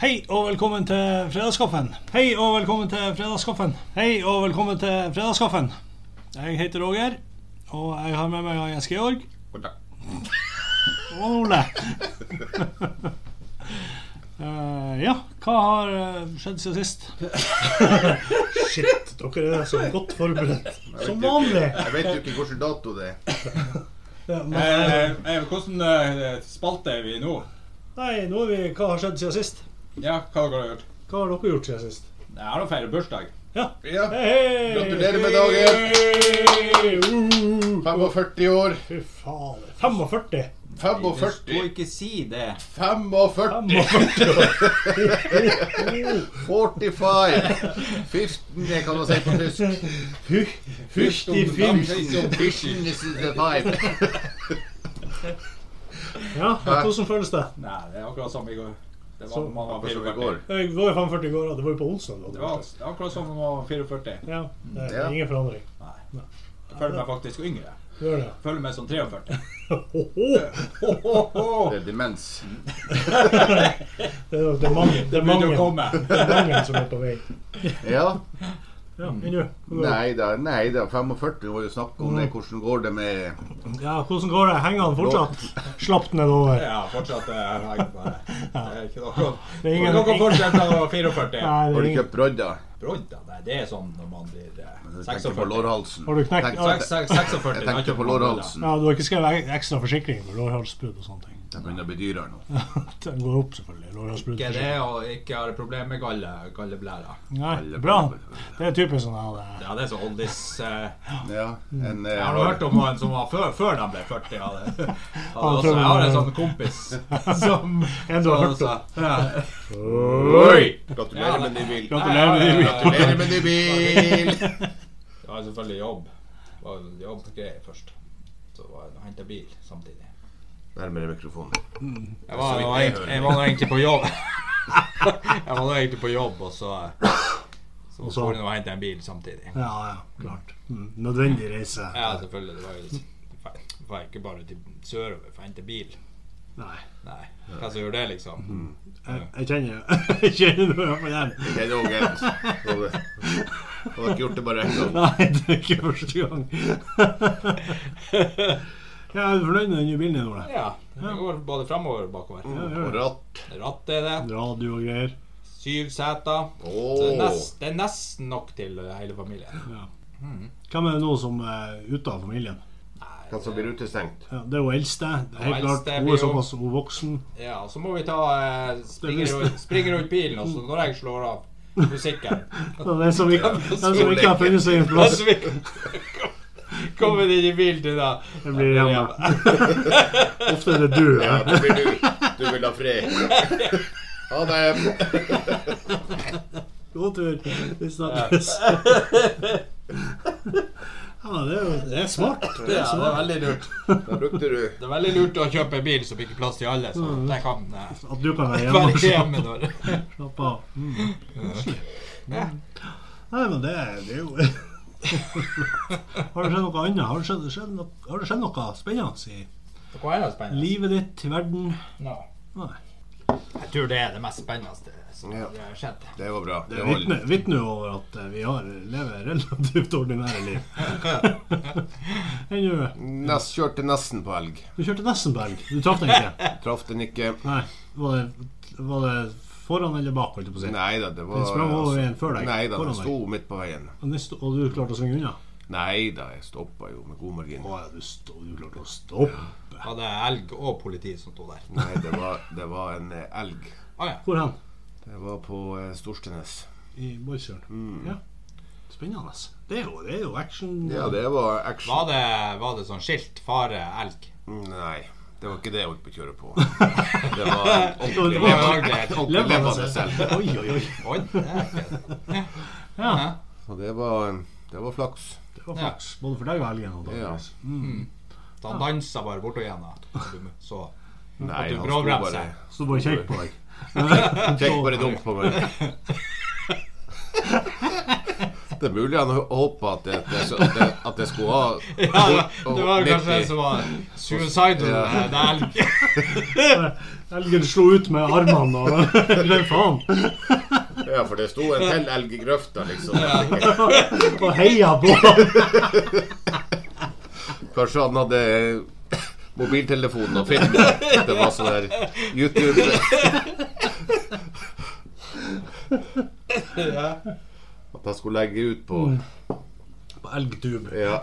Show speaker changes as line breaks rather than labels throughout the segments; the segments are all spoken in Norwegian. Hei og velkommen til fredagskaffen. Hei og velkommen til fredagskaffen. Hei og velkommen til fredagskaffen. Jeg heter Roger, og jeg har med meg Jens Georg og Ole. Eh, ja, hva har eh, skjedd siden sist?
Shit, dere er så godt forberedt. Som vanlig.
Jeg vet jo ikke hvilken dato det er.
Eh, eh, hvordan eh, spalte er vi nå?
Nei, nå er vi Hva har skjedd siden sist?
Ja, hva har dere gjort?
Hva har dere gjort siden sist?
Jeg har nå feiret bursdag.
Ja.
Hei!
Gratulerer med dagen!
Hei! Uh,
45 år.
Fy faen. 45.
45.
ikke si det.
45.
45 år.
45. 15, det kan man si på tysk.
Fyrsti film.
15 is the five.
Ja, hvordan føles det?
Nei, det er akkurat som i går. Det var
Så-
når man var
Akkurat som i
44.
går.
Jeg går i 45 i går, og det var jo på onsdag.
Det
da.
var det var akkurat som når man var 44.
Ja, det
Ja.
er ingen forandring.
Jeg føler meg faktisk yngre.
Gjør det.
Jeg føler meg som 43.
Ho, ho.
Ho, ho, ho.
Det er demens.
Det er, det er mange, det
Det
er mange,
begynner å komme.
det er mange som er på vei.
Ja.
Ja,
Mm.
men du?
Nei da, nei da. 45 var jo snakk om det. Hvordan går det med
Ja, hvordan går det? Henger han fortsatt slapt nedover?
Ja, fortsatt eh, jeg bare. Det er ikke noe
Det er
Det er
ingen-
noe forskjell fra 44.
Nei, det
Har
er
du
ingen-
kjøpt brodda?
Brodd, da. Nei, det er sånn når man blir eh,
Jeg Tenker på
46.
lårhalsen.
Har du knekt-
Tenk-
Ja,
Seks- seks- 46.
Jeg
da
tenkte
kjøper
på
man brodd, da.
lårhalsen.
Ja, du har ikke skrevet ek- ekstra forsikring for lårhalsbrudd og sånne ting?
Det begynner å bli dyrere nå.
Den går opp, selvfølgelig. Lårhalsbrudd.
Ikke det og ikke har problem med galle, galleblæra.
Nei, bra. Det er typisk sånn her. det.
Ja, det er så oldies eh,
Ja. En, eh,
Jeg har hørt om han som var før, før de ble 40. Ja, det. Ja,
Han
også,
tror-
jeg har en sånn kompis som
En du har hørt om.
som- ja.
Oi!
Ja,
Gratulerer
det-
med ny bil.
Gratulerer med din bil.
Gratulerer med ny bil!
Det var selvfølgelig jobb. Det var jobbgreier først. Så var jeg og hentet bil samtidig.
Nærmere mikrofonen.
Jeg var, nå egentlig- jeg var nå egentlig på jobb. Jeg var nå egentlig på jobb, og så Så
så-
skulle jeg nå hente en bil samtidig.
Ja, ja, klart. Mm, Nødvendig reise.
Ja, selvfølgelig. Det var jo det var ikke bare til sørover for å hente bil.
Nei.
Nei, hva som gjør det, liksom?
Jeg, jeg kjenner jeg kjenner noe på den.
Det er òg en. Hadde ikke gjort det bare en gang.
Nei, det er ikke første gang. Ja, er du fornøyd med den nye bilen din, Ole?
Ja. Det går både framover og bakover.
Ja,
Og
gjør det.
ratt.
Ratt er det.
Radio og greier.
Syv seter. Så Det, er
Åh.
nest, det er nesten nok til hele familien.
Ja. Hvem er det nå som er ute av familien?
Nei,
Hva
det-
som blir utestengt.
Ja, det er hun eldste. Det er helt
Hun
klart.
eldste
Hun
blir
er
jo-
såpass voksen.
Ja, så må vi ta eh, springe,
Det er
rundt, springe rundt bilen, og så når jeg slår av musikken
Ja, Den som ikke, den som ikke har funnet seg en plass,
Så vi kommer inn i bilen til da.
den blir hjemme. Ofte er det du.
Ja, det blir du. Du vil ha fred. Ha det.
God tur. Vi snakkes. Ja, det er jo det er smart.
Ja, det er veldig lurt.
Da brukte du
Det er veldig lurt å kjøpe en bil som ikke er plass til alle, så de kan eh,
At du kan være hjemme og
være
slappe-
hjemme når
slappe av. Mm.
Ja.
Nei, men det, er- det er jo Har det skjedd noe annet? Har det skjedd, skjedd noe, har det skjedd noe spennende i
Hva er det spennende?
livet ditt, verden?
Nå.
Nei.
Jeg tror det er det mest spennende som
Ja.
har skjedd.
Det var bra.
Det vitner- vitner jo over at eh, vi har lever relativt ordinære liv. Enn du?
Nest, kjørte nesten på elg.
Du kjørte Nessenberg. Du traff den ikke?
Traff den ikke.
Nei. Var det, var det foran eller bak? holdt jeg på å si?
Nei da, det var
Den sprang over veien før deg,
Nei da,
foran
den
deg.
sto midt på veien.
Og den sto- Og du klarte å svinge unna?
Nei da, jeg stoppa jo med god margin.
Å ja, du, sto, du klarte å stoppe.
Hadde elg og politi som sto der.
Nei, det var, det var en eh, elg.
Å ja.
Hvor hen?
Det var på eh, Storstenes.
I Borgsfjorden?
Mm.
Ja. Spennende. Det er jo, det er jo action.
Ja, det var action.
Var det, var det sånn skilt 'fare elg'?
Nei, det var ikke det jeg holdt på å kjøre på. Det var en ordentlig
Det var-
ordentlig
Levende
levende
selv.
selv.
Oi, oi, oi.
Oi, det er ikke-
Ja.
Og det var, det var flaks.
Det var flaks. Både for deg og helgen. antageligvis.
Så han dansa bare bortover igjen. da. Så
Nei,
du
han sto
bråbremser.
bare
Så bare kjekk på deg.
Kjekk bare dumt på meg. Det er mulig han håpa at, det- det- at, det- at det skulle ha
Ja, det var jo kanskje den
90.
som var suicidal.
Ja.
eh, Det er elg.
Elgen slo ut med armene og grev faen.
Ja, for det sto en til elg i grøfta, liksom.
Og heia på.
Kanskje han hadde mobiltelefonen og film. Det var sånn der YouTube
Ja.
At han skulle legge ut på
På elgtube.
Ja.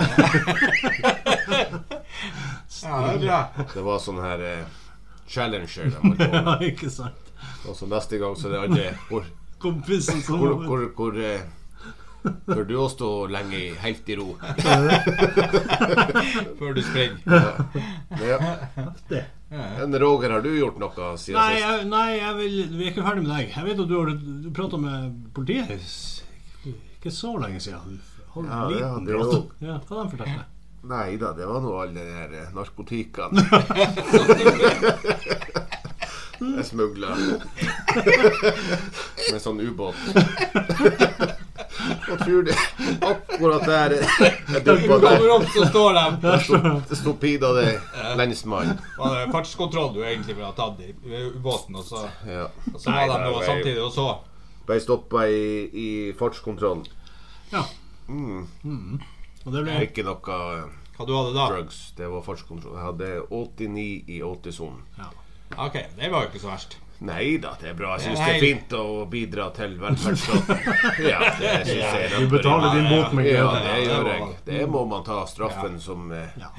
Ja, det er bra.
Det var sånn her eh, Challenger de holdt på med.
Ja, ikke sant.
Og så neste gang så er det andre hvor,
Kompisen som
hvor, hvor, hvor eh, Bør du òg stå lenge i- helt i ro?
Før du springer.
Ja.
det.
Men Roger, har du gjort noe siden
Nei,
sist?
jeg, nei jeg vil, vi er ikke ferdig med deg. Jeg vet at du har du prata med politiet s- ikke så lenge siden. Du har en
Ja, det
liten
hadde jeg
prat.
jo.
Ja, hva de fortalte
Nei da, det var nå all den her eh, narkotikaen. Jeg smugla med sånn ubåt. Jeg tror det akkurat der eh, jeg
Du
dumpa der.
kommer opp, så står de.
sto- Stupida det lensmann.
Var det fartskontroll du egentlig ville ha tatt i i båten, og så,
Ja.
og så var
Nei,
de
det
jo
var jo-
samtidig og så.
Ble stoppa i, i fartskontroll.
Ja. Og det ble
Ikke noe eh,
Hva du hadde da?
drugs. Det var fartskontroll. Jeg hadde 89 i 80-sonen.
Ok, det var jo ikke så verst.
Nei da, det er bra. Jeg syns det
Nei.
er fint å bidra til velferdsstaten. Ja, det synes jeg er
Du betaler din bot med
Ja,
glede.
det gjør jeg. Det må man ta straffen som eh,
Ja.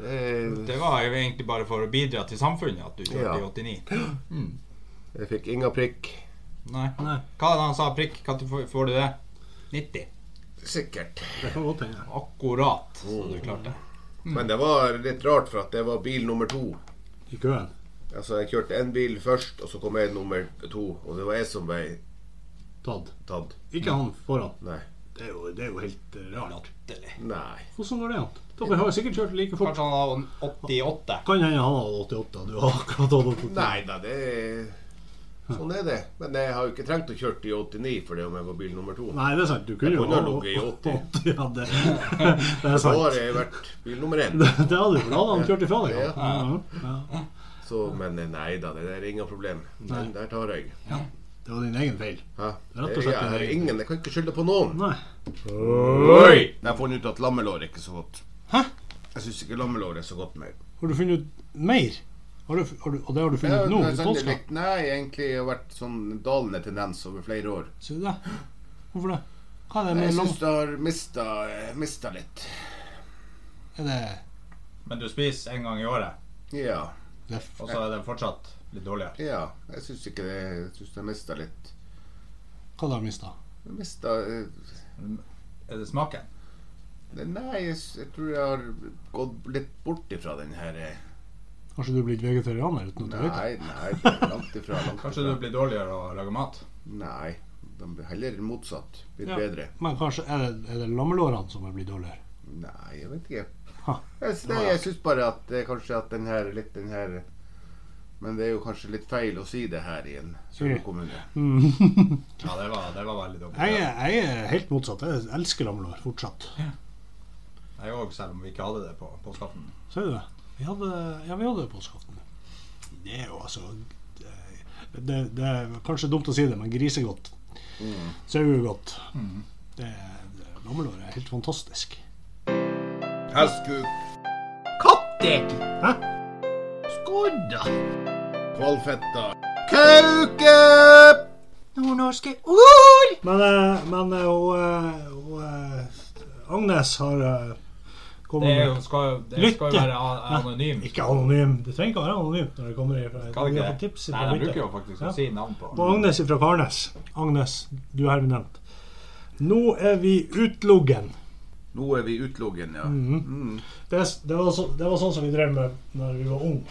det er-
Det var jo egentlig bare for å bidra til samfunnet at du
Ja.
kjørte i 89.
Jeg fikk inga prikk.
Nei. Hva var det han sa? Prikk? Når får, får du det? 90.
Sikkert.
Det kan godt hende.
Akkurat så du klarte det.
Men det var litt rart, for at det var bil nummer to.
I køen.
Altså, jeg kjørte en bil først, og så kom jeg nummer to. Og det var jeg som ble
Tatt.
tatt.
Ikke han foran.
Nei.
Det er jo, det er jo helt eh, rart.
Latterlig.
Nei.
Hvordan går det an? Dere har jo sikkert kjørt like fort.
Kanskje han var 88.
Kan hende han hadde 88, du har akkurat hatt 88.
Nei da, det er Sånn er det. Men jeg har jo ikke trengt å kjøre i 89 for det om jeg var bil nummer to.
Nei, det er sant. Du kunne
Jeg
jo
kunne ha ligget i
80. Ja, det, det er
Da
sant.
har jeg vært bil nummer én.
Det hadde du, for da hadde han kjørt ifra deg. Ja. Ja.
Så, men eh, nei da, det er ingen problem. Den der tar jeg.
Det var din egen feil.
Hæ?
Rett og
Jeg,
slett
jeg, har
en-
ingen, jeg kan ikke skylde på noen.
Nei.
Oi! Jeg har funnet ut at lammelår er ikke så godt. Hæ? Jeg syns ikke lammelår er så godt mer.
Har du funnet ut mer? Har du, har du, og det har du
Jeg
funnet
har
ut nå? i
bestandig
påska?
likt- sånn Nei, egentlig har det vært sånn dalende tendens over flere år.
Ser du det? Hvorfor det? Hva er det
Jeg
med
syns
lam...
det har mista, eh, mista litt.
Er det,
Men du spiser en gang i året,
Ja.
det er f-
og så er den fortsatt litt dårligere.
ja. Jeg syns ikke det Jeg syns det har mista litt.
Hva har du mista?
Jeg Mista eh,
Er det smaken?
Nei, jeg, s- jeg tror jeg har gått litt bort ifra den her eh,
Har ikke du blitt vegetarianer uten at du vet det?
Nei, nei, langt ifra. Langt
Kanskje du
ifra.
blir dårligere å lage mat?
Nei, de blir heller motsatt. Blitt
Ja.
bedre.
Men kanskje er det, er det lammelårene som har blitt dårligere?
Nei, jeg vet ikke.
Ha.
Jeg, s- nei, jeg syns bare at eh, kanskje at den her litt den her Men det er jo kanskje litt feil å si det her i en større
Sikkert.
kommune.
Ja, det var, det var veldig
Jeg,
dårlig.
er- jeg er helt motsatt. Jeg elsker lammelår fortsatt.
Jeg òg, selv om vi ikke hadde det på påskeaften.
Ser du det? Vi hadde, ja, vi hadde det på påskeaften. Det er jo altså det, det, det er kanskje dumt å si det, men grisegodt.
Mm.
Sauegodt. Det, det, lammelår er helt fantastisk.
Hestkuk,
Katter! Hæ? Skodda!
kvalfetta, kauke!
Nordnorske ord! Men, eh, men eh, og, eh, og, eh, Agnes har eh,
Det,
kommet
er jo- skal, jo- det skal jo
Lytte.
være a- anonymt.
Ikke anonym. Du trenger ikke å være anonym når det kommer ifra
Kan
vi
det
har
ikke
fått
det?
tips
Nei,
ifra
de
lytter.
bruker jo faktisk
Ja.
å si navn på.
Og Agnes fra Karnes. Agnes, du er herved nevnt. Nå er vi utloggen.
Nå er vi utloggen, ja.
Mhm. Det, det, var så, det var sånn som vi drev med når vi var unge.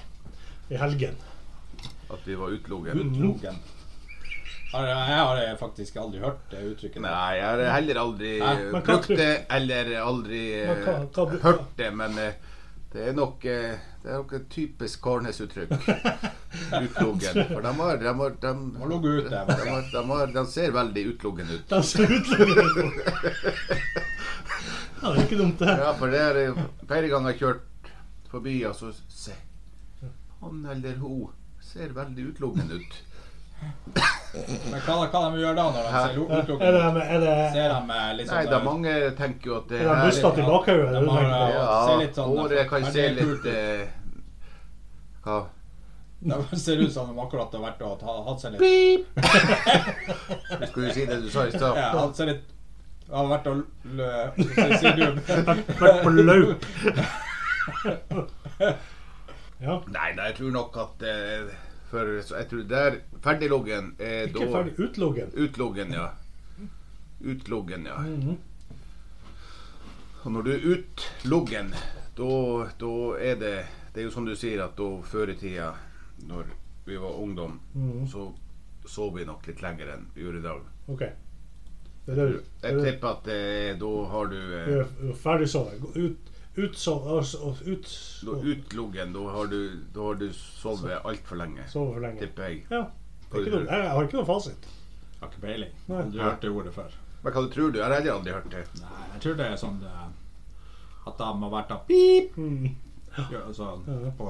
I helgen.
At vi var utloggen.
Utloggen. Har- Jeg har faktisk aldri hørt det uttrykket.
Nei, jeg har heller aldri
Nei,
eh,
men hva
brukt
tror-
det, eller aldri eh,
Men hva- hva bru-
hørt det, men eh, Det er nok eh, Det er nok et typisk Karnes-uttrykk. Utluggen. For de har De, har, de,
Må logge ut,
de,
dem.
har, de, har, de ser veldig utluggen ut.
Den ser ut til å bli Ja, det er ikke dumt, det.
Ja, for det er jo flere ganger jeg har kjørt forbi, og så se. Han eller hun ser veldig utluggen ut.
Men hva, hva de gjør da når de
Hæ?
ser lo-
Er det,
utelukkende?
er det,
Ser de eh, litt
Nei,
sånn
da
der-
mange tenker jo at det
er det busta
her
til bakhauget?
De har, eh,
Ja,
ser litt sånn
håret kan
veldig
se
kult
litt
ut.
eh, Hva?
De ser ut som de akkurat har vært og ta- hatt seg litt
Skulle du si det du sa i stad?
Ja, han ser litt Jeg har vært og lø... Sier du?
Vært på løp. Ja.
Nei, da, jeg tror nok at eh, For så jeg tror der Ferdigloggen er
Ikke ferdig utloggen.
Utloggen, ja. Utloggen, ja.
Mhm.
Og når du er utloggen, da, da er det Det er jo som du sier, at da før i tida, når vi var ungdom,
Mhm.
så sov vi nok litt lenger enn vi gjør i dag.
OK. Det er det du- det er
Jeg
det
tipper at eh, da har du
du
eh,
er ferdigsovet. Gå Ut, utsov, altså, ut,
da Utloggen, da har du, da har du sovet altfor lenge,
sove for lenge.
tipper jeg.
Ja. Det er ikke dumt. Jeg jeg har ikke noen fasit.
Har ikke peiling.
Nei.
Du hørte ordet før.
Men hva du tror du? Jeg har heller aldri hørt det.
Nei, jeg tror det er sånn eh, at de har vært og pip
Mm.
gjør sånn
Ja.
på,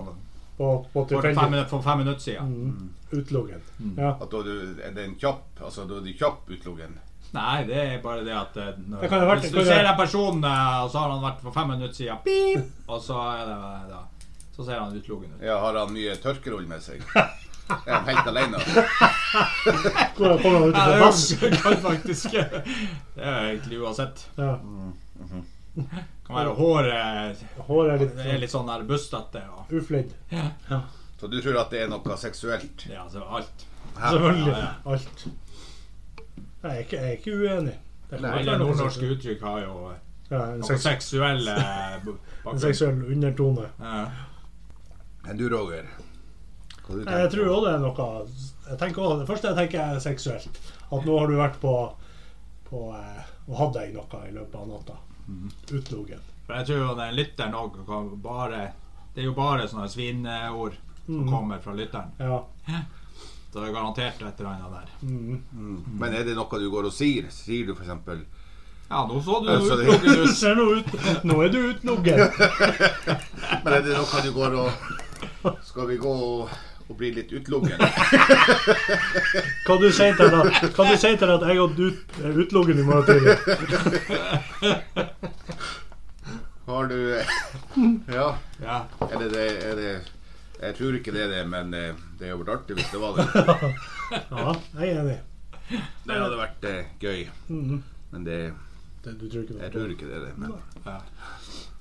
På, på
for, fem
tilfeldig
minutter, for fem minutter siden.
Mm. utloggen. Ja.
At da du, er det en kjapp altså da er du kjapp utloggen.
Nei, det er bare det at eh, når,
Det kan ha vært-
Hvis
det
du
kan ha-
ser en person, eh, og så har han vært for fem minutter siden pip, og så er det eh, da Så ser han utelukket ut.
Ja, har han mye tørkerull med seg? Er han helt alene?
Går jeg på meg ut
Ja,
på
det
dass?
er jo- kan faktisk Det er jo egentlig uansett.
Ja.
Kan være håret eh,
Håret er
Det er
litt
litt sånn der bustete og
sånn uflidd.
Så du tror at det er noe seksuelt?
Ja, så altså alt.
Selvfølgelig.
Ja,
Alt. Jeg er ikke, jeg er ikke uenig. Det kan godt
Alle
være noe
nordnorske
seksuelt.
uttrykk har jo eh,
Ja, en,
noe
seks,
seksuelle b-
en
bakgrunn.
seksuell undertone.
Ja.
Men du, Roger? Hva du
Nei, Jeg tror
på?
også det er noe jeg tenker også, Det første jeg tenker, er seksuelt. At nå har du vært på, på eh, og hatt deg noe i løpet av natta. Uteloggen.
For jeg tror jo den lytteren òg bare Det er jo bare sånne svineord som kommer fra lytteren.
Ja.
Så det er garantert et eller annet der.
Mm.
Men er det noe du går og sier? Sier du f.eks.:
Ja, nå så du
Altså, det-
utelukket ut.
Ser nå ut Nå er du uteloggen.
Men er det noe du går og Skal vi gå og, og bli litt utelukket?
Hva du sier til da? Hva du sier til at jeg og du er uteloggen i morgen tidlig?
Har du Ja.
Ja.
Er det det? Er det jeg tror ikke det er det, men eh, det hadde vært artig hvis det var det.
Ja, jeg er enig.
Det hadde vært eh, gøy.
Mhm.
Men det,
Det, du tror ikke noe
jeg
på det?
tror ikke det er det. Men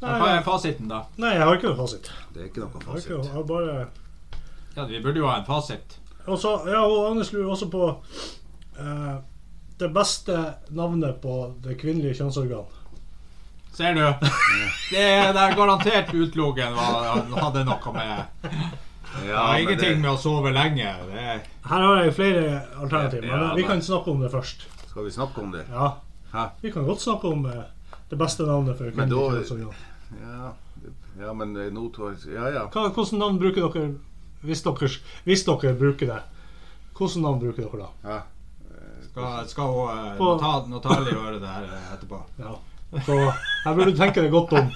Men Hva er fasiten, da?
Nei, jeg har ikke noe fasit.
det er ikke noe
Jeg har ikke,
fasit.
jeg har bare...
Ja, Vi burde jo ha en fasit.
Og så, ja, og Agnes lurer også på eh, det beste navnet på det kvinnelige kjønnsorgan.
Ser du? Det, det er garantert utelukket hadde noe med Det
Ja,
har
men det-
ingenting med å sove lenge. Det er
Her har jeg flere alternativer,
Ja,
men vi
nei.
kan snakke om det først.
Skal vi snakke om det?
Ja,
Hæ?
Vi kan godt snakke om eh, det beste navnet for
Men
kvinnelige
da-
kjønnsorgan.
Ja, ja men eh, nå tror jeg Ja, ja.
Hva, hvordan navn bruker dere hvis dere, hvis dere bruker det? Hvordan navn bruker dere da?
ja.
Skal, skal hun, eh,
På-
nota- Natalie gjøre det her eh, etterpå?
Ja. Så her burde du tenke deg godt om.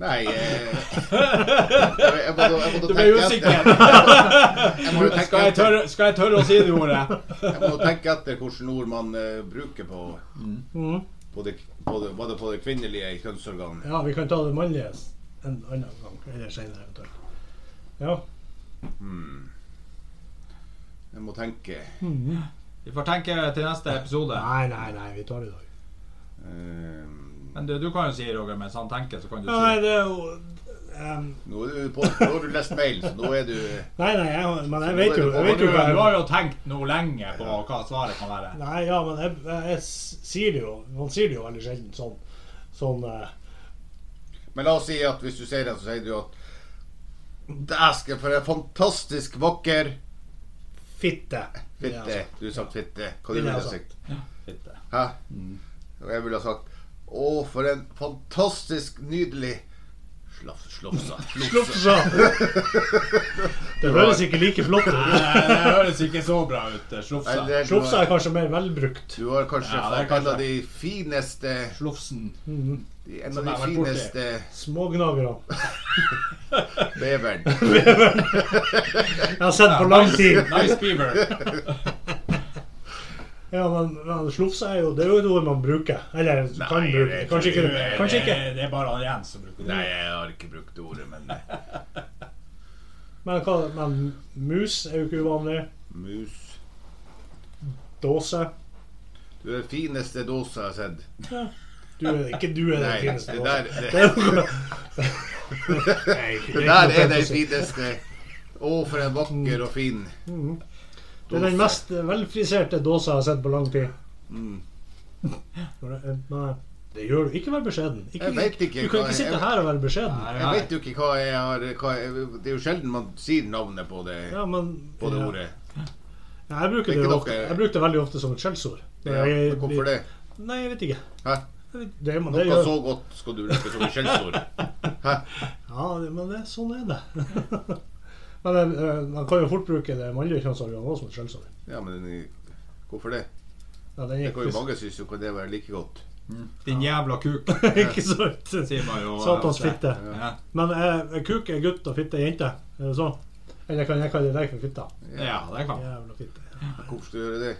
Nei eh, Jeg må da- jeg må da
Du ble
tenke
usikker.
etter. Jeg må jo tenke
Skal jeg,
etter,
tørre, skal jeg tørre å si det ordet?
jeg må jo tenke etter hvilke ord man eh, bruker på,
Mhm.
på, det, på det, både på det kvinnelige kjønnsorganet.
Ja, vi kan ta det mannlige s- en annen gang, eller senere eventuelt. Ja.
Jeg må tenke
Vi får tenke til neste episode.
Nei, nei, nei, vi tar det i dag.
eh,
Men du, du kan jo si Roger, mens han tenker, så kan du
Ja, nei,
si
det er jo ehm,
Nå er du på, nå har du lest mail, så nå er du
Nei, nei, jeg, men jeg vet jo, jeg vet
du,
jo hva
du
jeg
har jo tenkt noe lenge på hva svaret kan være.
Nei, ja, men jeg, jeg, jeg sier det jo Man sier det jo veldig sjelden sånn. sånn eh,
Men la oss si at hvis du ser den, så sier du at Dæsken, for en fantastisk vakker
fitte. altså.
altså.
fitte. Du sa fitte.
Ville
Hva du ville
jeg
du
sagt.
sagt?
Fitte.
Hæ? Og jeg ville ha sagt Å, for en fantastisk nydelig slaff, slofsa. slofsa.
Slufsa! Det høres ikke like flott ut. eh,
Nei, Det høres ikke så bra
eh,
ut.
Nei,
Slufsa.
det- du
Slufsa
har-
er kanskje mer velbrukt.
Du har kanskje
Ja, det er
fått en
kanskje-
av de fineste
Slufsen.
de- En av
Som
de
jeg har vært borti.
fineste
Smågnagere.
beveren.
Jeg har sett på lang tid.
Nice beaver.
Ja, men, men slufse er jo Det er jo et ord man bruker. Eller kan
Nei,
bruke.
det-
Kanskje ikke.
det-
Kanskje ikke.
Det, det er bare han Jens som bruker det.
Nei, jeg har ikke brukt ordet, men eh,
Men, hva, men mus er jo ikke uvanlig.
mus
Dåse.
Du er den fineste dåsa jeg har sett.
Du er ikke du er den
Nei, det
fineste dåsen.
der, det,
Det er jo noe- Nei,
det
ikke
der
noe
er den
fantasy.
fineste. Å, for en vakker og fin
Mm-hmm. Det er den
dåse.
mest velfriserte dåsa jeg har sett på lang tid.
Mm.
Når det- Nei, det gjør du. Ikke vær beskjeden. Ikke,
Jeg vet ikke
du kan
hva-
ikke sitte
jeg-
her og være beskjeden.
Nei,
Jeg vet jo ikke hva jeg har hva jeg, Det er jo sjelden man sier navnet på det,
Ja, men
på det
ja.
ordet.
Ja, jeg, bruker det
Ikke
jo
dere.
ofte, jeg bruker det veldig ofte som et skjellsord.
Ja, men hvorfor det?
Nei, jeg vet ikke.
Hæ?
Jeg vet- Det, men det
Noe
gjør
så godt skal du bruke som et skjellsord.
Ja, det, men det, sånn er det. men eh, man kan jo fort bruke det mannlige kjønnsorganet også som et skjellsord.
Ja, men hvorfor det?
Ja, den
Det
gikk
kan jo
ikke-
Mange synes jo kan det være like godt.
Din jævla kuk,
ikke sant?
sier man jo.
Satans fitte.
Ja.
Men eh, kuk er gutt og fitte er jente. Er det sånn? Eller kan jeg kalle deg for fitta?
ja, det kan
Jævla fitte.
Hvorfor skal du gjøre det?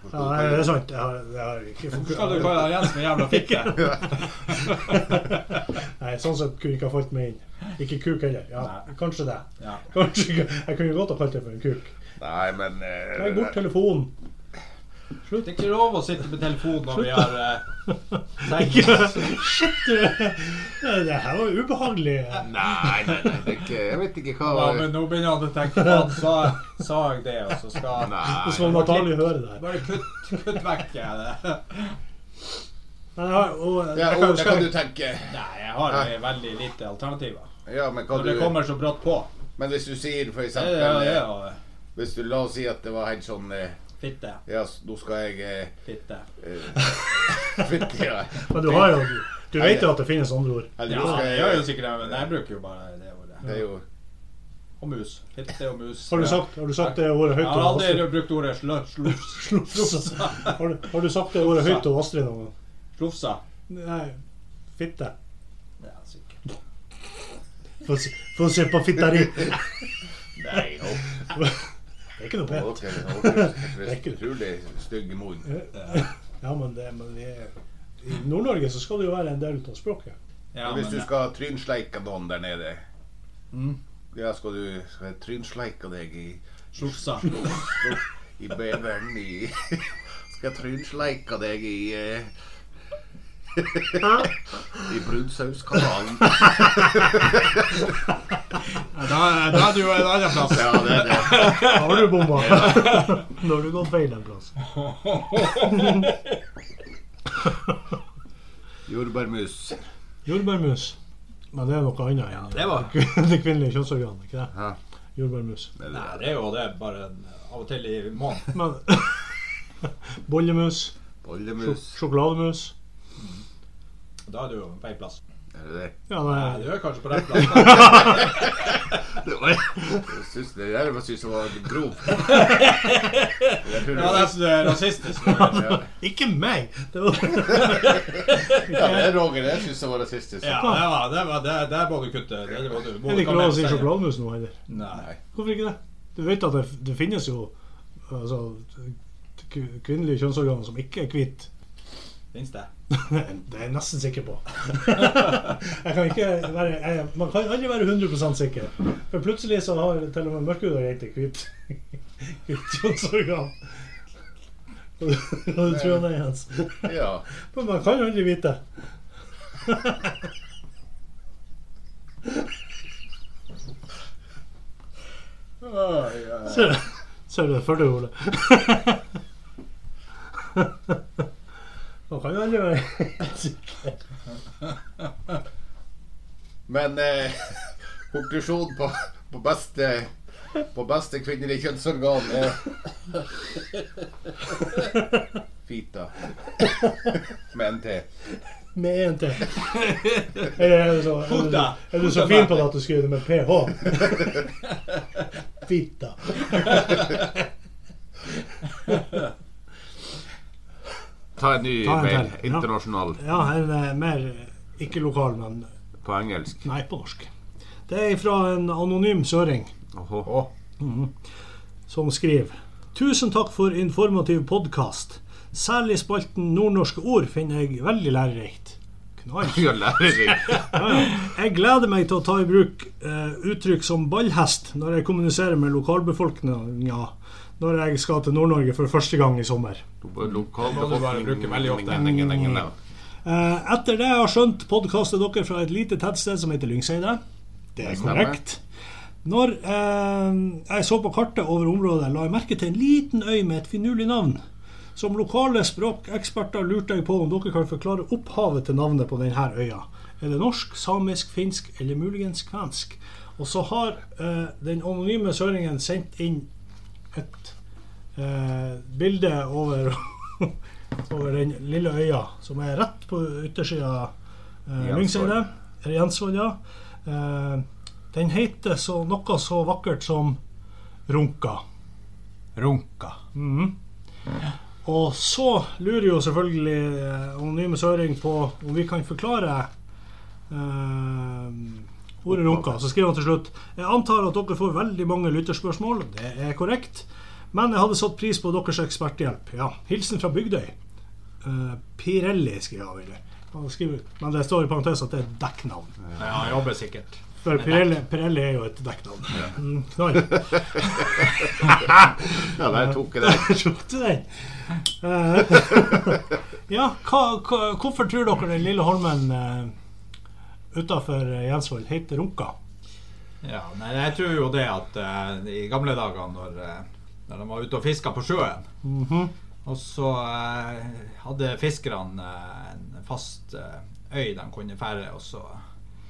Hvorfor
Ja,
skal
nei,
du
det er
kalle-
sant. Jeg har, jeg har ikke
Hvorfor skal du kalle Jens for jævla fitte?
Nei, sånn sett kunne jeg ikke ha falt meg inn. Ikke kuk heller. Ja, kanskje det.
Ja.
Kanskje, jeg kunne godt ha kalt deg for en kuk.
Nei, men eh,
Legg bort telefonen.
Det er ikke lov å sitte på telefonen når vi har eh,
Ikke Shit, du. Det her var ubehagelig.
Nei, nei, nei, det er ikke, jeg vet ikke hva
Ja, men nå begynner han å tenke Faen, sa, sa jeg det, og så skal
Nei.
Hvis sånn man Natalie hører det her.
Bare kutt, kutt vekk eh, det.
Men jeg har, og,
Ja,
jeg kan,
ordet kan du tenke.
Nei, jeg har jo veldig lite alternativer.
Ja, men, kan
Når det
du,
kommer så brått på.
men hvis du sier for
Det
eksempel
er
eh,
jo
Hvis du la oss si at det var helt sånn eh,
fitte,
Ja, s- nå skal jeg eh,
fitte.
eh, Fytti ja.
men du har jo Du vet jo at det finnes andre ord.
Eller
Ja,
nå skal
jeg gjør jo
jeg
sikkert det, men jeg bruker jo bare det ordet.
Det er jo
Og mus. Fitte og mus.
Har du sagt, har du sagt det ordet
Jeg
høyt
har
og
aldri
Astrid?
brukt ordet slø- slufs-
Slufs. Har du, har du sagt det ordet høyt og Astrid noen gang?
slufsa.
Nei. Fitte.
Ja, sikkert.
Få se, få se på fitteri.
Nei, nå
Det er ikke noe pent.
okay, nå- det er utrolig stygg munn.
Ja, men, det, men vi er, i Nord-Norge så skal det jo være en del av språket.
Ja,
Hvis du
men,
skal trynsleike noen der nede
Mm.
Ja, skal du skal jeg trynsleike deg i
slufsa.
I beveren i Skal jeg trynsleike deg i eh, I brunsauskanalen.
Da, da er du jo en annen plass.
Ja, det er det.
Har du bomma? Nå har du gått feil en plass.
Jordbærmus.
Jordbærmus. Men det er noe annet enn
Det var
det kvinnelige kjønnsorganet. ikke
Ja.
det? Jordbærmus.
Er det
Nei,
det?
det er jo det, bare en- av og til i måneden.
Men bollemus, sjok
Bollemus.
sjokolademus
Da er du jo på feil plass.
Er det det?
Ja,
Nei,
nei,
du er kanskje på rett plass. da.
Jeg syns det der var synes jeg var grov. Jeg tror
Ja,
det var-
det er sånn. rasistisk. men-
Ja,
ikke meg! Det var,
Ja, det er Roger. Jeg syns det var rasistisk.
Ja, det var, det var, det, der må du kutte. Det må du,
er
må du
det ikke lov å si sjokolademus nå heller.
Nei.
Hvorfor ikke det? Du vet at det, det finnes jo altså, k- kvinnelige kjønnsorganer som ikke er hvite.
Finnes det?
Det er jeg nesten sikker på. Jeg kan ikke være, jeg, man kan aldri være 100 sikker. For plutselig så har til og med mørkhuda jenter hvitt hvitt kjønnsorgan. Hva du tror du det, Jens?
Ja.
Men man kan jo aldri vite. Ser du? Ser du det før du gjorde det? Man kan jo aldri være
Men eh, konklusjon på, på beste på beste kvinnelige kjønnsorgan er Fita. Med en T.
med en til. Eller er du så, er du,
Fota.
er du så fin på det at du skriver det med ph? Fitta.
Ta en ny
Ta en
mail.
til, ja.
Internasjonal.
Ja, en eh, mer ikke lokal, men
På engelsk.
nei, på norsk. Det er fra en anonym søring
Åhå.
som skriver Tusen takk for informativ podkast. Særlig spalten nordnorske ord finner jeg veldig lærerikt. Knall.
Ja, lærerikt.
Jeg gleder meg til å ta i bruk eh, uttrykk som ballhest når jeg kommuniserer med lokalbefolkninga når jeg skal til Nord-Norge for første gang i sommer.
må du bare bruke veldig ofte.
ofte.
Eh, etter det jeg har skjønt, podkaster dere fra et lite tettsted som heter Lyngseide. Det er
stemmer.
korrekt. Når eh, jeg så på kartet over området, la jeg merke til en liten øy med et finurlig navn. Som lokale språkeksperter lurte jeg på om dere kan forklare opphavet til navnet på denne øya. Er det norsk, samisk, finsk eller muligens kvensk? Og så har eh, den anonyme søringen sendt inn et eh, bilde over, over den lille øya, som er rett på yttersida eh,
Jensvoll.
Lyngseidet. Eller Jensvoll, ja. Eh, den heter så, noe så vakkert som Runka. Mhm.
Runka.
Og så lurer jo selvfølgelig eh, Anonyme Søring på om vi kan forklare eh, ordet runka. Så skriver han til slutt Jeg antar at dere får veldig mange lytterspørsmål. Det er korrekt. Men jeg hadde satt pris på deres eksperthjelp. Ja, Hilsen fra Bygdøy. Eh, Pirelli, skriver han. videre. Han skriver, men det står i parentes at det er et dekknavn.
Ja, han jobber sikkert.
For Pirelli, Pirelli er jo et dekknavn. Mm, knall.
Ja, der tok jeg det.
Tok du den? Eh, ja, hva, hva, hvorfor tror dere den lille holmen uh, utafor Jensvoll heter Runka?
Ja, nei, jeg tror jo det at eh, i gamle dager når, eh, når de var ute og fiska på sjøen,
Mhm.
og så eh, hadde fiskerne eh, en fast eh, øy de kunne ferde, og så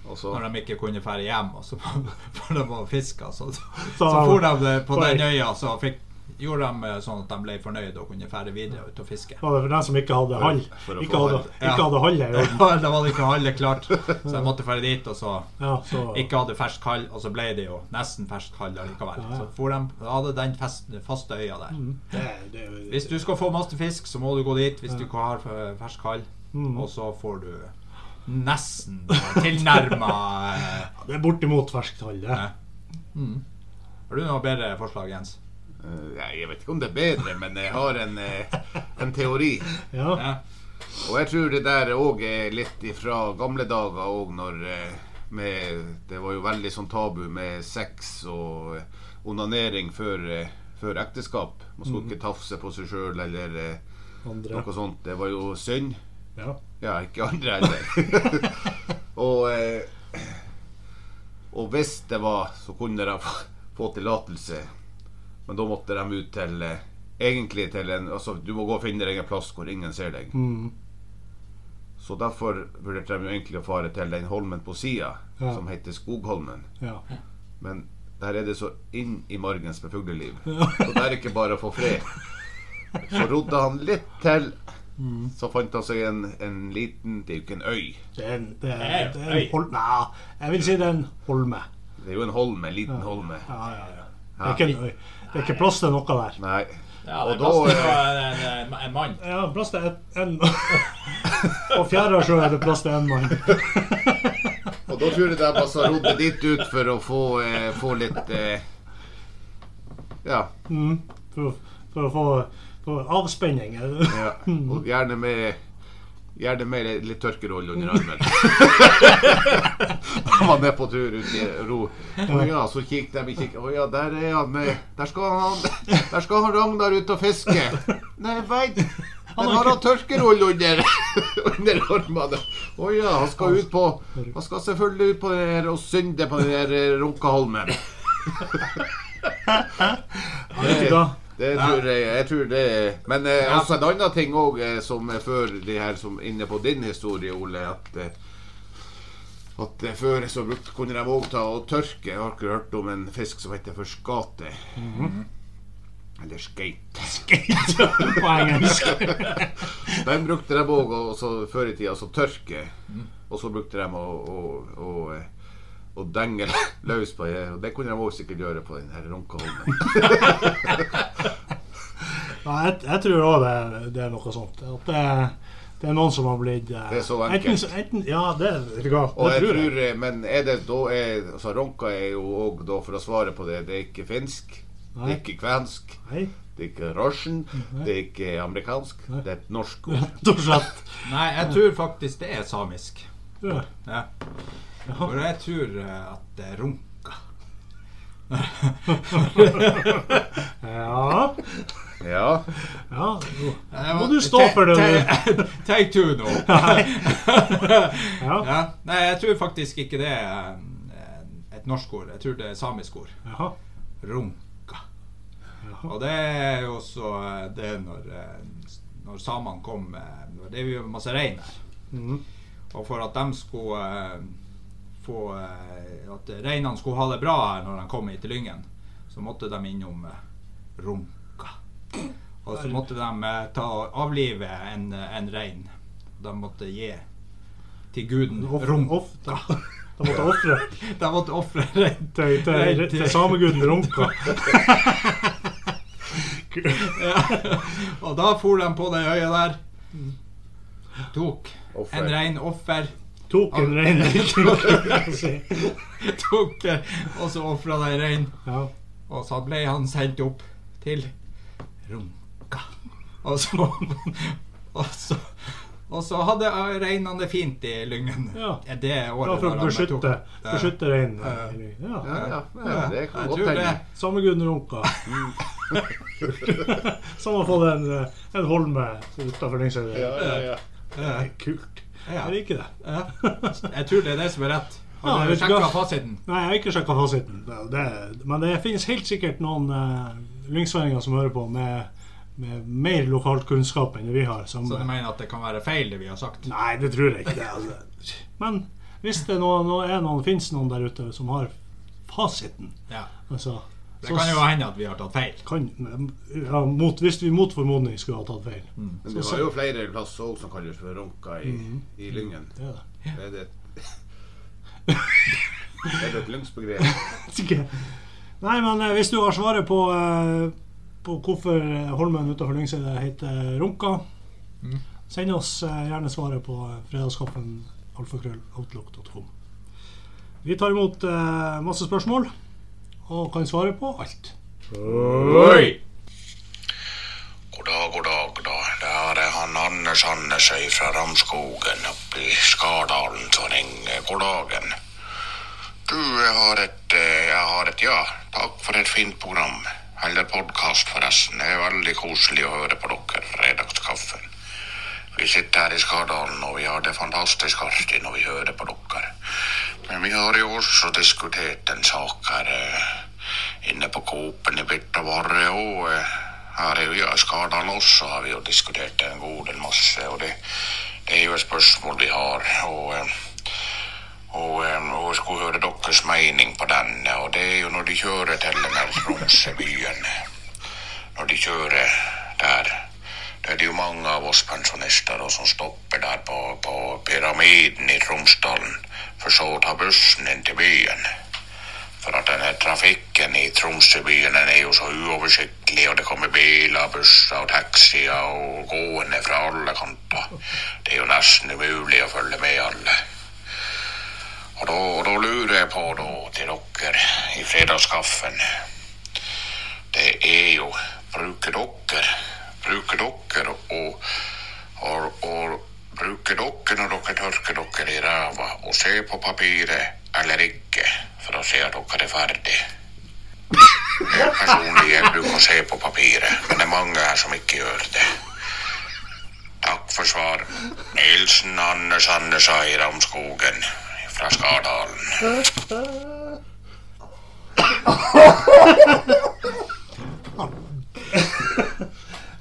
Og så
når de ikke kunne ferde hjem, og så for de var fiska, så, så,
Så-
for de på
Oi.
den øya, så fikk, gjorde de eh, sånn at de ble fornøyd og kunne ferde videre ut og fiske.
Var det for den som ikke hadde hall?
For å få
Ikke hadde,
hall.
ikke hadde hall her, jo.
Ja, da var det ikke hallet klart, så de måtte ferde dit, og så
Ja, så,
ikke hadde fersk hall, og så ble det jo nesten fersk hall likevel. Så for de hadde den fest, faste øya der.
Mm. det, det, det,
Hvis du skal få masse fisk, så må du gå dit hvis du ikke har eh, fersk hall.
Mm.
Og så får du nesten tilnærma
er bortimot ferskt hall, det.
Ja. Har du noe bedre forslag, Jens?
Eh, Jeg vet ikke om det er bedre, men jeg har en, eh, en teori.
Ja.
Ja.
Og jeg tror det der òg er litt ifra gamle dager òg, når eh, med, Det var jo veldig sånn tabu med sex og eh, onanering før, eh, før ekteskap. Man skulle ikke tafse på seg sjøl eller eh,
Andre.
noe sånt. Det var jo synd.
Ja.
Ja, ikke andre heller. og, eh, og hvis det var, så kunne de få- få tillatelse. Men da måtte de ut til eh, Egentlig til en Altså, du må gå og finne deg en plass hvor ingen ser deg.
Mm.
Så derfor vurderte de jo egentlig å fare til den holmen på sida,
Ja.
som heter Skogholmen.
ja.
Men der er det så inn i margens med fugleliv. Så det er ikke bare å få fred. Så rodde han litt til.
Mm.
Så fant han seg en, en liten Det er jo ikke en øy.
Det er en, det er,
er jo
det er en
høy.
hol... Nei, jeg vil si det er en holme.
Det er jo en holme. En liten holme.
Ja, ja, ja. Det er ikke, en, øy. det er ikke plass til noe der.
Nei.
Ja,
Og
det er plass til
da, eh,
en, en, en mann.
Ja, plass til en, en På fjæra sjø er det plass til én mann.
Og da tror jeg de altså rodde dit ut for å få, eh, få litt eh, ja,
Mm, for, å- for å få for avspenning. Ja.
ja. Og gjerne med Gjerne med litt tørkeroll under armen. Han var med på tur ut i ro. Å ja, så kikket de i kikk. Å ja, der er han med Der skal han Der skal han Ragnar ut og fiske. Nei, veit Men har han tørkeroll under, under armene? Å ja, han skal ut på Han skal selvfølgelig ut på det her og synde på den her eh, Runkaholmen.
Ikke da?
Det tror jeg, jeg tror det Men eh, også en annen ting òg eh, som er før de her som er inne på din historie, Ole, at eh, at eh, før så brukte, kunne
Mhm.
de òg ta og tørke. Jeg har ikke hørt om en fisk som heter forskate. Eller skate.
Skate på engelsk.
De brukte de òg før i tida som tørke.
Mhm.
Og så brukte de å, å, å, eh, å denge løs på det. Og det kunne de òg sikkert gjøre på den her Ronkaholmen.
Ja, jeg, jeg tror òg det, det er noe sånt. At det, det er noen som har blitt eh,
Det er så enkelt.
enten, enten, Ja, det, vet du hva,
Og
det
jeg
tror jeg.
tror, eh, men er det da er, altså Ronka er jo òg, da, for å svare på det, det er ikke finsk. Det
Nei.
er ikke kvensk.
Nei,
Det er ikke russian. Det er ikke amerikansk. Det er et norsk ord.
rett og slett.
Nei, jeg tror faktisk det er samisk.
Ja.
Ja. For jeg tror eh, at det er runka.
Ja,
Ja.
ja. jo.
Må
du stå for det,
Take two nå.
Ja.
ja. Nei, jeg tror faktisk ikke det er eh, et norsk ord. Jeg tror det er samisk ord.
Jaha.
Runka. Og det er jo også eh, det når, eh, når samene kom eh, Det er jo masse rein her.
Mm.
Og for at de skulle eh, få eh, At reinene skulle ha det bra her når de kom hit til Lyngen, så måtte de innom eh, Runka. Og så måtte de eh, ta avlive en, eh, en rein. De måtte gi til guden
Off-
Runka.
off- Da da måtte jeg ofre
De måtte ofre rein
til, til,
rein
til sameguden Ronka.
Ja. Og da for de på det øya der. Tok
Offer.
en rein offer.
Tok en rein
Tok eh, Og så ofra de rein.
Ja.
Og så ble han sendt opp til Runka. Og så Og så, og så hadde eh, reinene det fint i Lyngen
Ja.
det året.
Ja, for å
da de tok-
beskytte,
Ja.
beskytte reinen.
Ja,
Ja.
ja, ja, det kan
Jeg
godt
tror det.
hende.
Sameguden Ronka.
Mm.
Som har fått en, eh, en holme utafor Lyngsøy.
Ja, ja, ja.
Ja.
Det er kult.
Ja.
Jeg liker det.
Ja. Jeg tror det er det som er rett.
Ja,
Har
jeg
du
vet ikke
sjekka
hva-
fasiten?
Nei, jeg har ikke sjekka fasiten. Det- det- Men det finnes helt sikkert noen uh, lyngsvendinger som hører på med, med mer lokalkunnskap enn det vi har. Som,
Så du mener at det kan være feil, det vi har sagt?
Nei, det tror jeg ikke. Det, altså. Men hvis det nå, nå er noen, finnes noen der ute som har fasiten
Ja.
altså,
Det
så
kan jo hende at vi har tatt feil.
kan, ja, mot, Hvis vi mot formodning skulle ha tatt feil.
Mm.
Men det var jo flere plasser òg som kalles for Ronka i, i Lyngen.
Det er det.
Er det Er det et lyngsbegrep?
Vet ikke. Nei, men eh, hvis du har svaret på, eh, på hvorfor eh, Holmen utenfor Lyngseidet heter Runka, send oss eh, gjerne svaret på eh, fredagskaffen alfakrølloutlook.com. Vi tar imot eh, masse spørsmål og kan svare på alt.
Oi!
God dag, god dag, god dag. Det er han Anders Andersøy fra Ramskogen oppe i Skardalen som ringer. God dagen. Du, jeg har et, eh, jeg har et ja. Takk for et fint program. Eller podkast, forresten. Det er veldig koselig å høre på dere, Redagskaffen. Vi sitter her i Skardalen, og vi har det fantastisk artig når vi hører på dere. Men vi har jo også diskutert en sak her eh, inne på Coop-en i Birtavarre. Og eh, her er jo ja, i Skardalen også har vi jo diskutert en god del masse. Og det, det er jo et spørsmål vi har. Og, eh, og, eh, og jeg skulle høre deres mening på den. Og det er jo når de kjører til den her Tromsøbyen når de kjører der. Det er det jo mange av oss pensjonister da, som stopper der på, på Pyramiden i Tromsdalen, for så å ta bussen inn til byen. For at denne trafikken i Tromsøbyen den er jo så uoversiktlig, og det kommer biler, busser og taxier og gående fra alle kanter. Det er jo nesten umulig å følge med alle. Og da, og da lurer jeg på, da, til dere i fredagskaffen det er jo bruker dere, bruker dere og, og, og bruker dere når dere tørker dere i ræva og ser på papiret eller ikke for å se at dere er ferdig. Jeg Personlig jeg bruker å se på papiret, men det er mange her som ikke gjør det. Takk for svar. Nilsen Anders Andersa i Ramskogen fra Skardalen.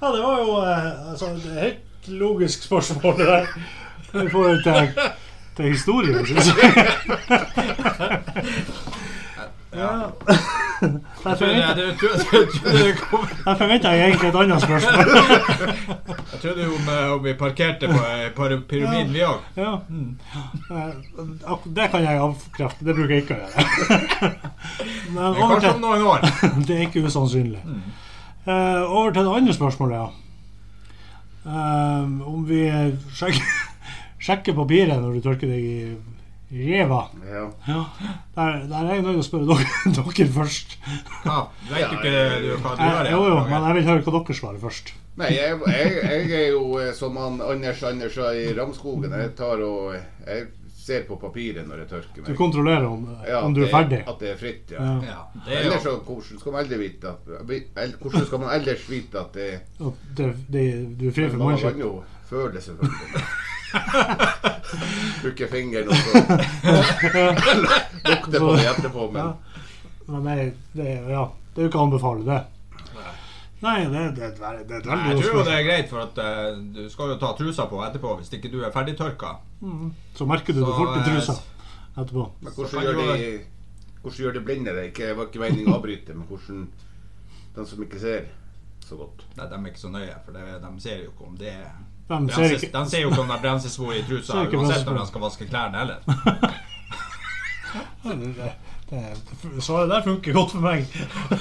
Ja, det var jo eh, altså, det er helt logisk spørsmål, det der. Vi får jo til, til historien, synes jeg. Ja. Jeg
Jeg trodde-
forventa-
jeg trodde- jeg trodde det kom-
jeg forventa egentlig et annet spørsmål.
Jeg trodde jo om, eh, om vi parkerte på eh, par- pyramiden, vi òg.
Ja. Eh, ak- Det kan jeg avkrefte. Det bruker jeg ikke å gjøre. Men over
Kanskje om
til,
noen år.
det er ikke usannsynlig. Eh, over til det andre spørsmålet, ja. Eh, om vi sjekker, sjekker papiret når du tørker deg i i ræva.
Ja.
Ja. Der, der er jeg nødt til å spørre dere, dere først.
Ja, vet du ikke du, hva du gjør?
Jeg, jo, jo,
Roger?
men jeg vil høre hva dere svarer først.
Nei, jeg, jeg, jeg er jo eh, som han Anders Anders i Ramskogen. Jeg tar og Jeg ser på papiret når jeg tørker
Du
meg.
kontrollerer om,
Ja,
om du
at
er
det-
ferdig.
At det er fritt, ja.
Ja.
ja, det er
Ellers
jo
så, hvordan skal man ellers vite at vi- eller Hvordan skal man ellers vite at det
At det, det, du er fri for
Man kan
munnskitt.
jo føle det, selvfølgelig. Bruke fingeren og så lukte på det etterpå, men
Ja. Men det, det, ja, det er jo ikke å anbefale, det. Nei, det, det, det, er- det er et
Nei,
veldig
Jeg
godt
tror jo det
spørsmål.
er greit, for at eh, du skal jo ta trusa på etterpå hvis ikke du er ferdigtørka.
Så merker du det
Så,
fort i
eh,
trusa etterpå.
Men
Så
hvordan
kan
gjør
jo-
de Hvordan gjør de blinde det? Ikke, det var ikke meningen å avbryte, men hvordan De som ikke ser så godt.
Nei, de er ikke så nøye, for det, de ser jo ikke om det er
De ser
bremses,
ikke
De ser jo ikke om det er bremsesvor i trusa,
Ser ikke
uansett
bremsespor.
når de skal vaske klærne heller.
det, det, Svaret der funker godt for meg.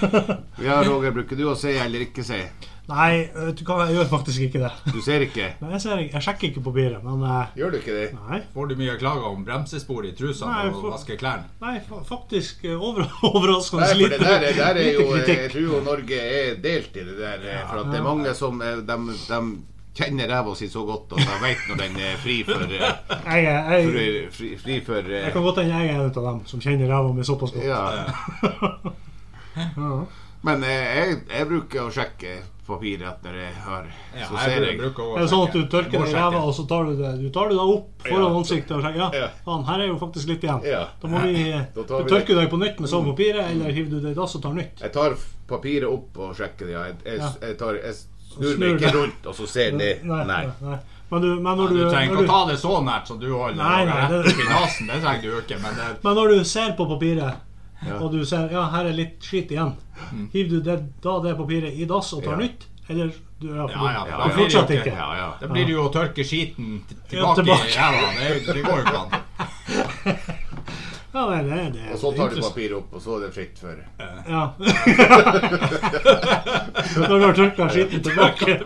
Ja, Roger, bruker du å se eller ikke se?
Nei, vet du hva, jeg gjør faktisk ikke det.
Du ser ikke?
Men jeg, ser, ikke- jeg sjekker ikke papiret. Men eh,
Gjør du ikke det?
nei,
Får du mye klager om bremsespor i trusa
Nei,
når du
for-
vasker klærne?
nei fa- faktisk eh, over, overraskende
Nei, for det
lite,
der, er- der er
lite
jo eh, Jeg
kritikk.
tror jo Norge er delt i det der. eh, For at det er mange som eh, De, de kjenner ræva si så godt, og de vet når den er fri for eh,
Jeg, er- jeg,
fri, fri, fri for eh,
Jeg kan godt hende jeg er en av dem som kjenner ræva mi såpass godt.
Ja. Men eh, jeg, jeg bruker å sjekke papiret når jeg har
Ja,
Så
jeg
ser jeg.
bruker å
Er det sånn at du
sjekke.
tørker deg
Må
i
sjekke.
ræva, og så tar du det Du tar det da opp foran
Ja.
ansiktet og sier ja,
Ja.
faen, her er jo faktisk litt igjen.
Ja.
Da må vi
Da tar
Du
vi
tørker deg på nytt med samme papiret, eller hiver du det i dass og tar nytt.
Jeg tar f- papiret opp og sjekker det. Ja. Jeg, jeg,
Ja.
jeg, tar, jeg
Og
snur
snur
meg ikke
det.
rundt, og så ser det. Nei.
nei. Men, du, men
Ja,
når
Du
du,
trenger
når
ikke å
du,
ta det så nært som du holder
Nei, nei,
rett
det-
opp i nasen. Det trenger du jo ikke. Men det,
men når du ser på papiret, og du ser ja, her er litt skitt igjen,
Mm.
hiver du det, da det papiret i dass og tar
Ja.
nytt? Eller du, ja,
ja, ja,
du
da blir det jo
fortsetter ikke.
Ja, ja.
da blir det jo å tørke skiten t-
Ja, tilbake.
tilbake i ræva. Det, det går jo ikke an.
Ja, nei, det, det,
Og så
det er
tar du
interessant.
papiret opp, og så er det fritt for
Ja. Når du har tørka skitten tilbake,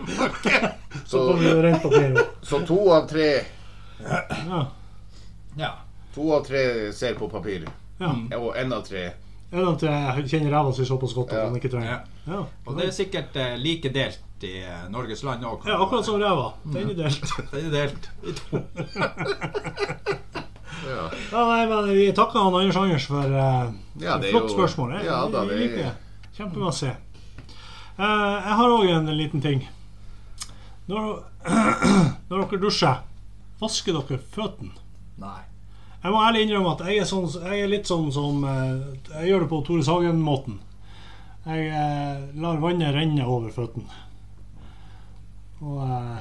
Så,
kommer det rent papir opp.
så to av tre
Ja.
Ja.
To av tre ser på papir.
Ja.
Og én av tre.
Er det at jeg kjenner ræva si såpass godt at
Ja.
han ikke trenger
Ja.
ja.
Og det er sikkert eh, like delt i eh, Norges land òg.
ja, akkurat som ræva. Den er delt.
Det er delt i to.
Ja,
Ja, nei, men vi takker han Anders Anders for eh,
Ja, det er
flott
jo-
spørsmål. Jeg,
ja, da,
jeg
det-
liker det. Kjempemasse. Eh, jeg har òg en liten ting. Når, når dere dusjer, vasker dere føttene?
Nei.
Jeg må ærlig innrømme at jeg er, sånn, jeg er litt sånn som eh, Jeg gjør det på Tore Sagen-måten. Jeg eh, lar vannet renne over føttene. Og eh,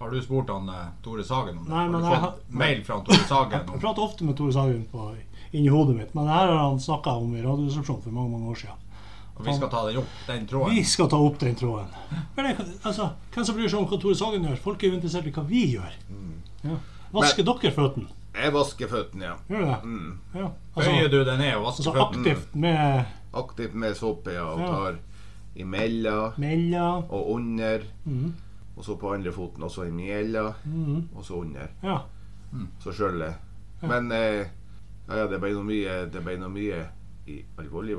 Har du spurt han eh, Tore Sagen om det?
Nei,
Har
men
du
jeg
fått
har-
mail fra han Tore Sagen
Jeg
om
prater ofte med Tore Sagen på, inni hodet mitt, men det her har han snakka om i Radioresepsjonen for mange mange år siden.
og vi skal ta den opp, den
Vi
tråden?
skal ta opp den tråden. Men det, altså, Hvem som bryr seg om hva Tore Sagen gjør? Folk er jo interessert i hva vi gjør. Ja. Vasker dere føttene?
Jeg vasker føttene, ja.
Gjør dere det? Ja.
Bøyer
Altså,
du deg ned og
altså
vasker føttene?
aktivt med
Aktivt med såpe, ja. Og
Ja.
tar imellom
mellom
og under. Og så på andre foten, og så imellom, og så under.
Ja.
Så skjølvet. Men eh, ja, ja, det ble noe mye Det ble noe mye i alvorlig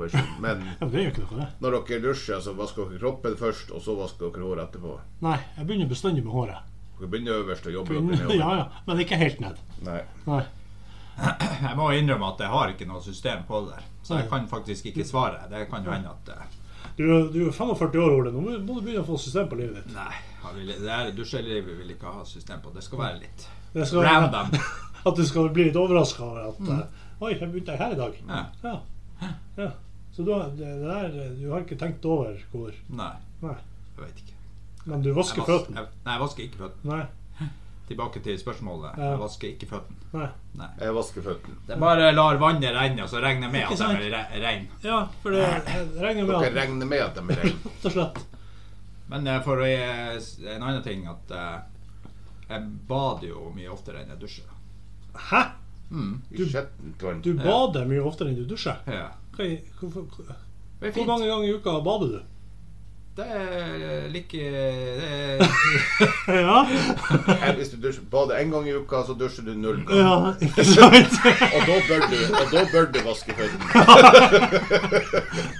versjon. Men
ja, men det gjør ikke noe, det.
når dere dusjer, så vasker dere kroppen først, og så vasker dere håret etterpå.
Nei, jeg begynner bestandig med håret.
Dere begynner øverst og jobber dere
Begynner,
nedover.
ja, ja. Men ikke helt ned.
Nei.
Nei.
Jeg må innrømme at jeg har ikke noe system på det der. Så jeg kan faktisk ikke svare. Det kan jo hende at eh,
Du, du er 45 år, Ole. Nå må må du begynne å få system på livet ditt.
Nei, jeg vil, det her dusjelivet vil ikke ha system på. Det skal være litt
Det skal-
random.
At du skal bli litt overraska over at eh, Oi, jeg begynte her i dag.
Ja.
Ja. ja. Så du har, det det der, eh, du har ikke tenkt over hvor
Nei,
Nei.
jeg vet ikke.
Men du
Jeg
vasker
vas-
føttene?
jeg- Nei, jeg vasker ikke føttene.
Nei.
tilbake til spørsmålet.
Ja.
Jeg vasker ikke føttene.
Nei.
Jeg vasker føttene.
Det er bare lar vannet renne, og så regner jeg med
Ikke
at
sant?
de er re- reine.
Ja, for det jeg regner med
Dere
at
regner med at de er reine?
Rett og slett.
Men eh, for å gi s- en annen ting at eh, jeg bader jo mye oftere enn jeg dusjer.
Hæ?
I skjettent vann?
Du bader mye oftere enn du dusjer?
Ja.
Hva i- Hvorfor
Det er
hvor
fint.
mange ganger i uka bader du?
Det er like det er,
Ja,
Her, Hvis du dusjer, bader én gang i uka, så dusjer du null ganger.
ja ikke sant?
Og da bør du, og da bør du vaske føttene.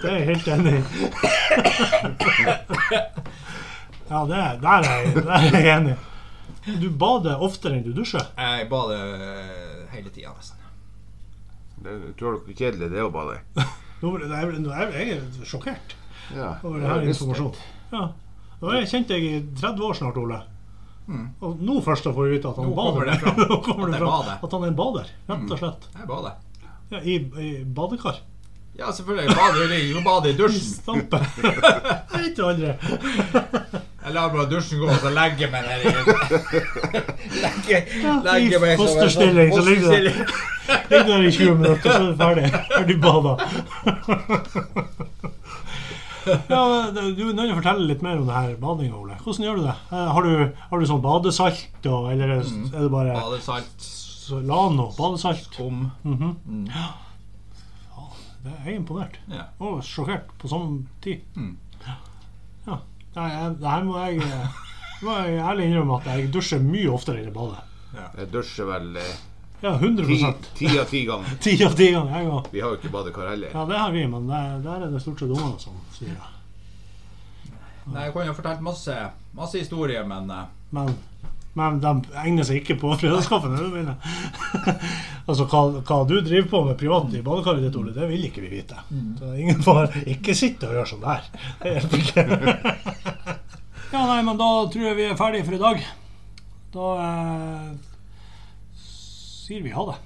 Det er jeg helt enig i. Ja, det, der, er jeg, der er jeg enig. Du bader oftere enn du dusjer.
Jeg bader eh, hele tida, nesten.
Det- Tror dere hvor kjedelig det er å bade?
Nå ble- Jeg ble- nå er jeg er sjokkert
Ja.
over det her informasjonen. Ja. Nå har jeg kjent deg i 30 år snart, Ole. Og nå først får vi vite at han
Mm. Nå kommer
bader.
det fram.
Nå kommer
At
det
jeg
fram.
bader. Mm.
At han er en bader, rett og slett.
Jeg bader.
Ja, I, i badekar.
Ja, selvfølgelig. Jeg bader jo ligger og bader i dusjen.
Stampe. Jeg vet jo aldri.
Jeg lar bare dusjen gå, og så legger jeg meg ned i legger,
I
legger meg som en sånn
fosterstilling, så ligger du-
fosterstilling.
Ligg der i 20 minutter, så er du ferdig. Er du bada? Ja, men det- du er nødt til å fortelle litt mer om det her badinga, Ole. Hvordan gjør du det? Eh, Har du, har du sånn badesalt, og, eller er
Mm.
det- er det bare
Badesalt,
så- Lano? Badesalt?
skum
Det er jeg imponert.
Ja.
Og sjokkert på samme tid.
Mm.
Ja. Nei, jeg, det her må jeg, eh, må jeg ærlig innrømme at jeg dusjer mye oftere enn jeg bader.
Jeg dusjer vel eh,
Ja,
ti
100
ti av ti ganger.
Ti av ti ganger jeg òg.
Vi har jo ikke badekar heller.
Ja, det har vi, men der, der er det stort sett ungene som sier det.
Nei, Jeg kunne jo fortalt masse, masse historier, men eh,
Men, men de egner seg ikke på fredagskaffen. Det mener jeg. altså, hva, hva du driver på med privat i badekaret ditt, Ole, det vil ikke vi vite. Så ingen får ikke sitte og gjøre sånn der. Det hjelper ikke. ja, nei, men da tror jeg vi er ferdige for i dag. Da eh, sier vi ha det.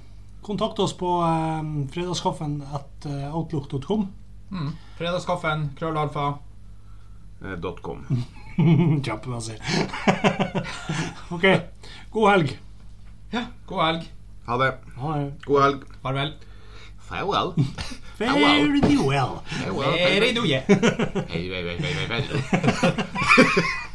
Kontakt oss på eh, fredagskaffen at eh, outlook.com.
fredagskaffen, krøllalfa
Eh, Dot com.
Kjempemessig. OK. God helg.
Ja, god helg.
Ha det.
Ha det.
God helg.
Farvel.
Farewell.
Very well.
Farewell.
Hei,
Farewell.
Reiduje.
Hei, hei, hei, hei, hei.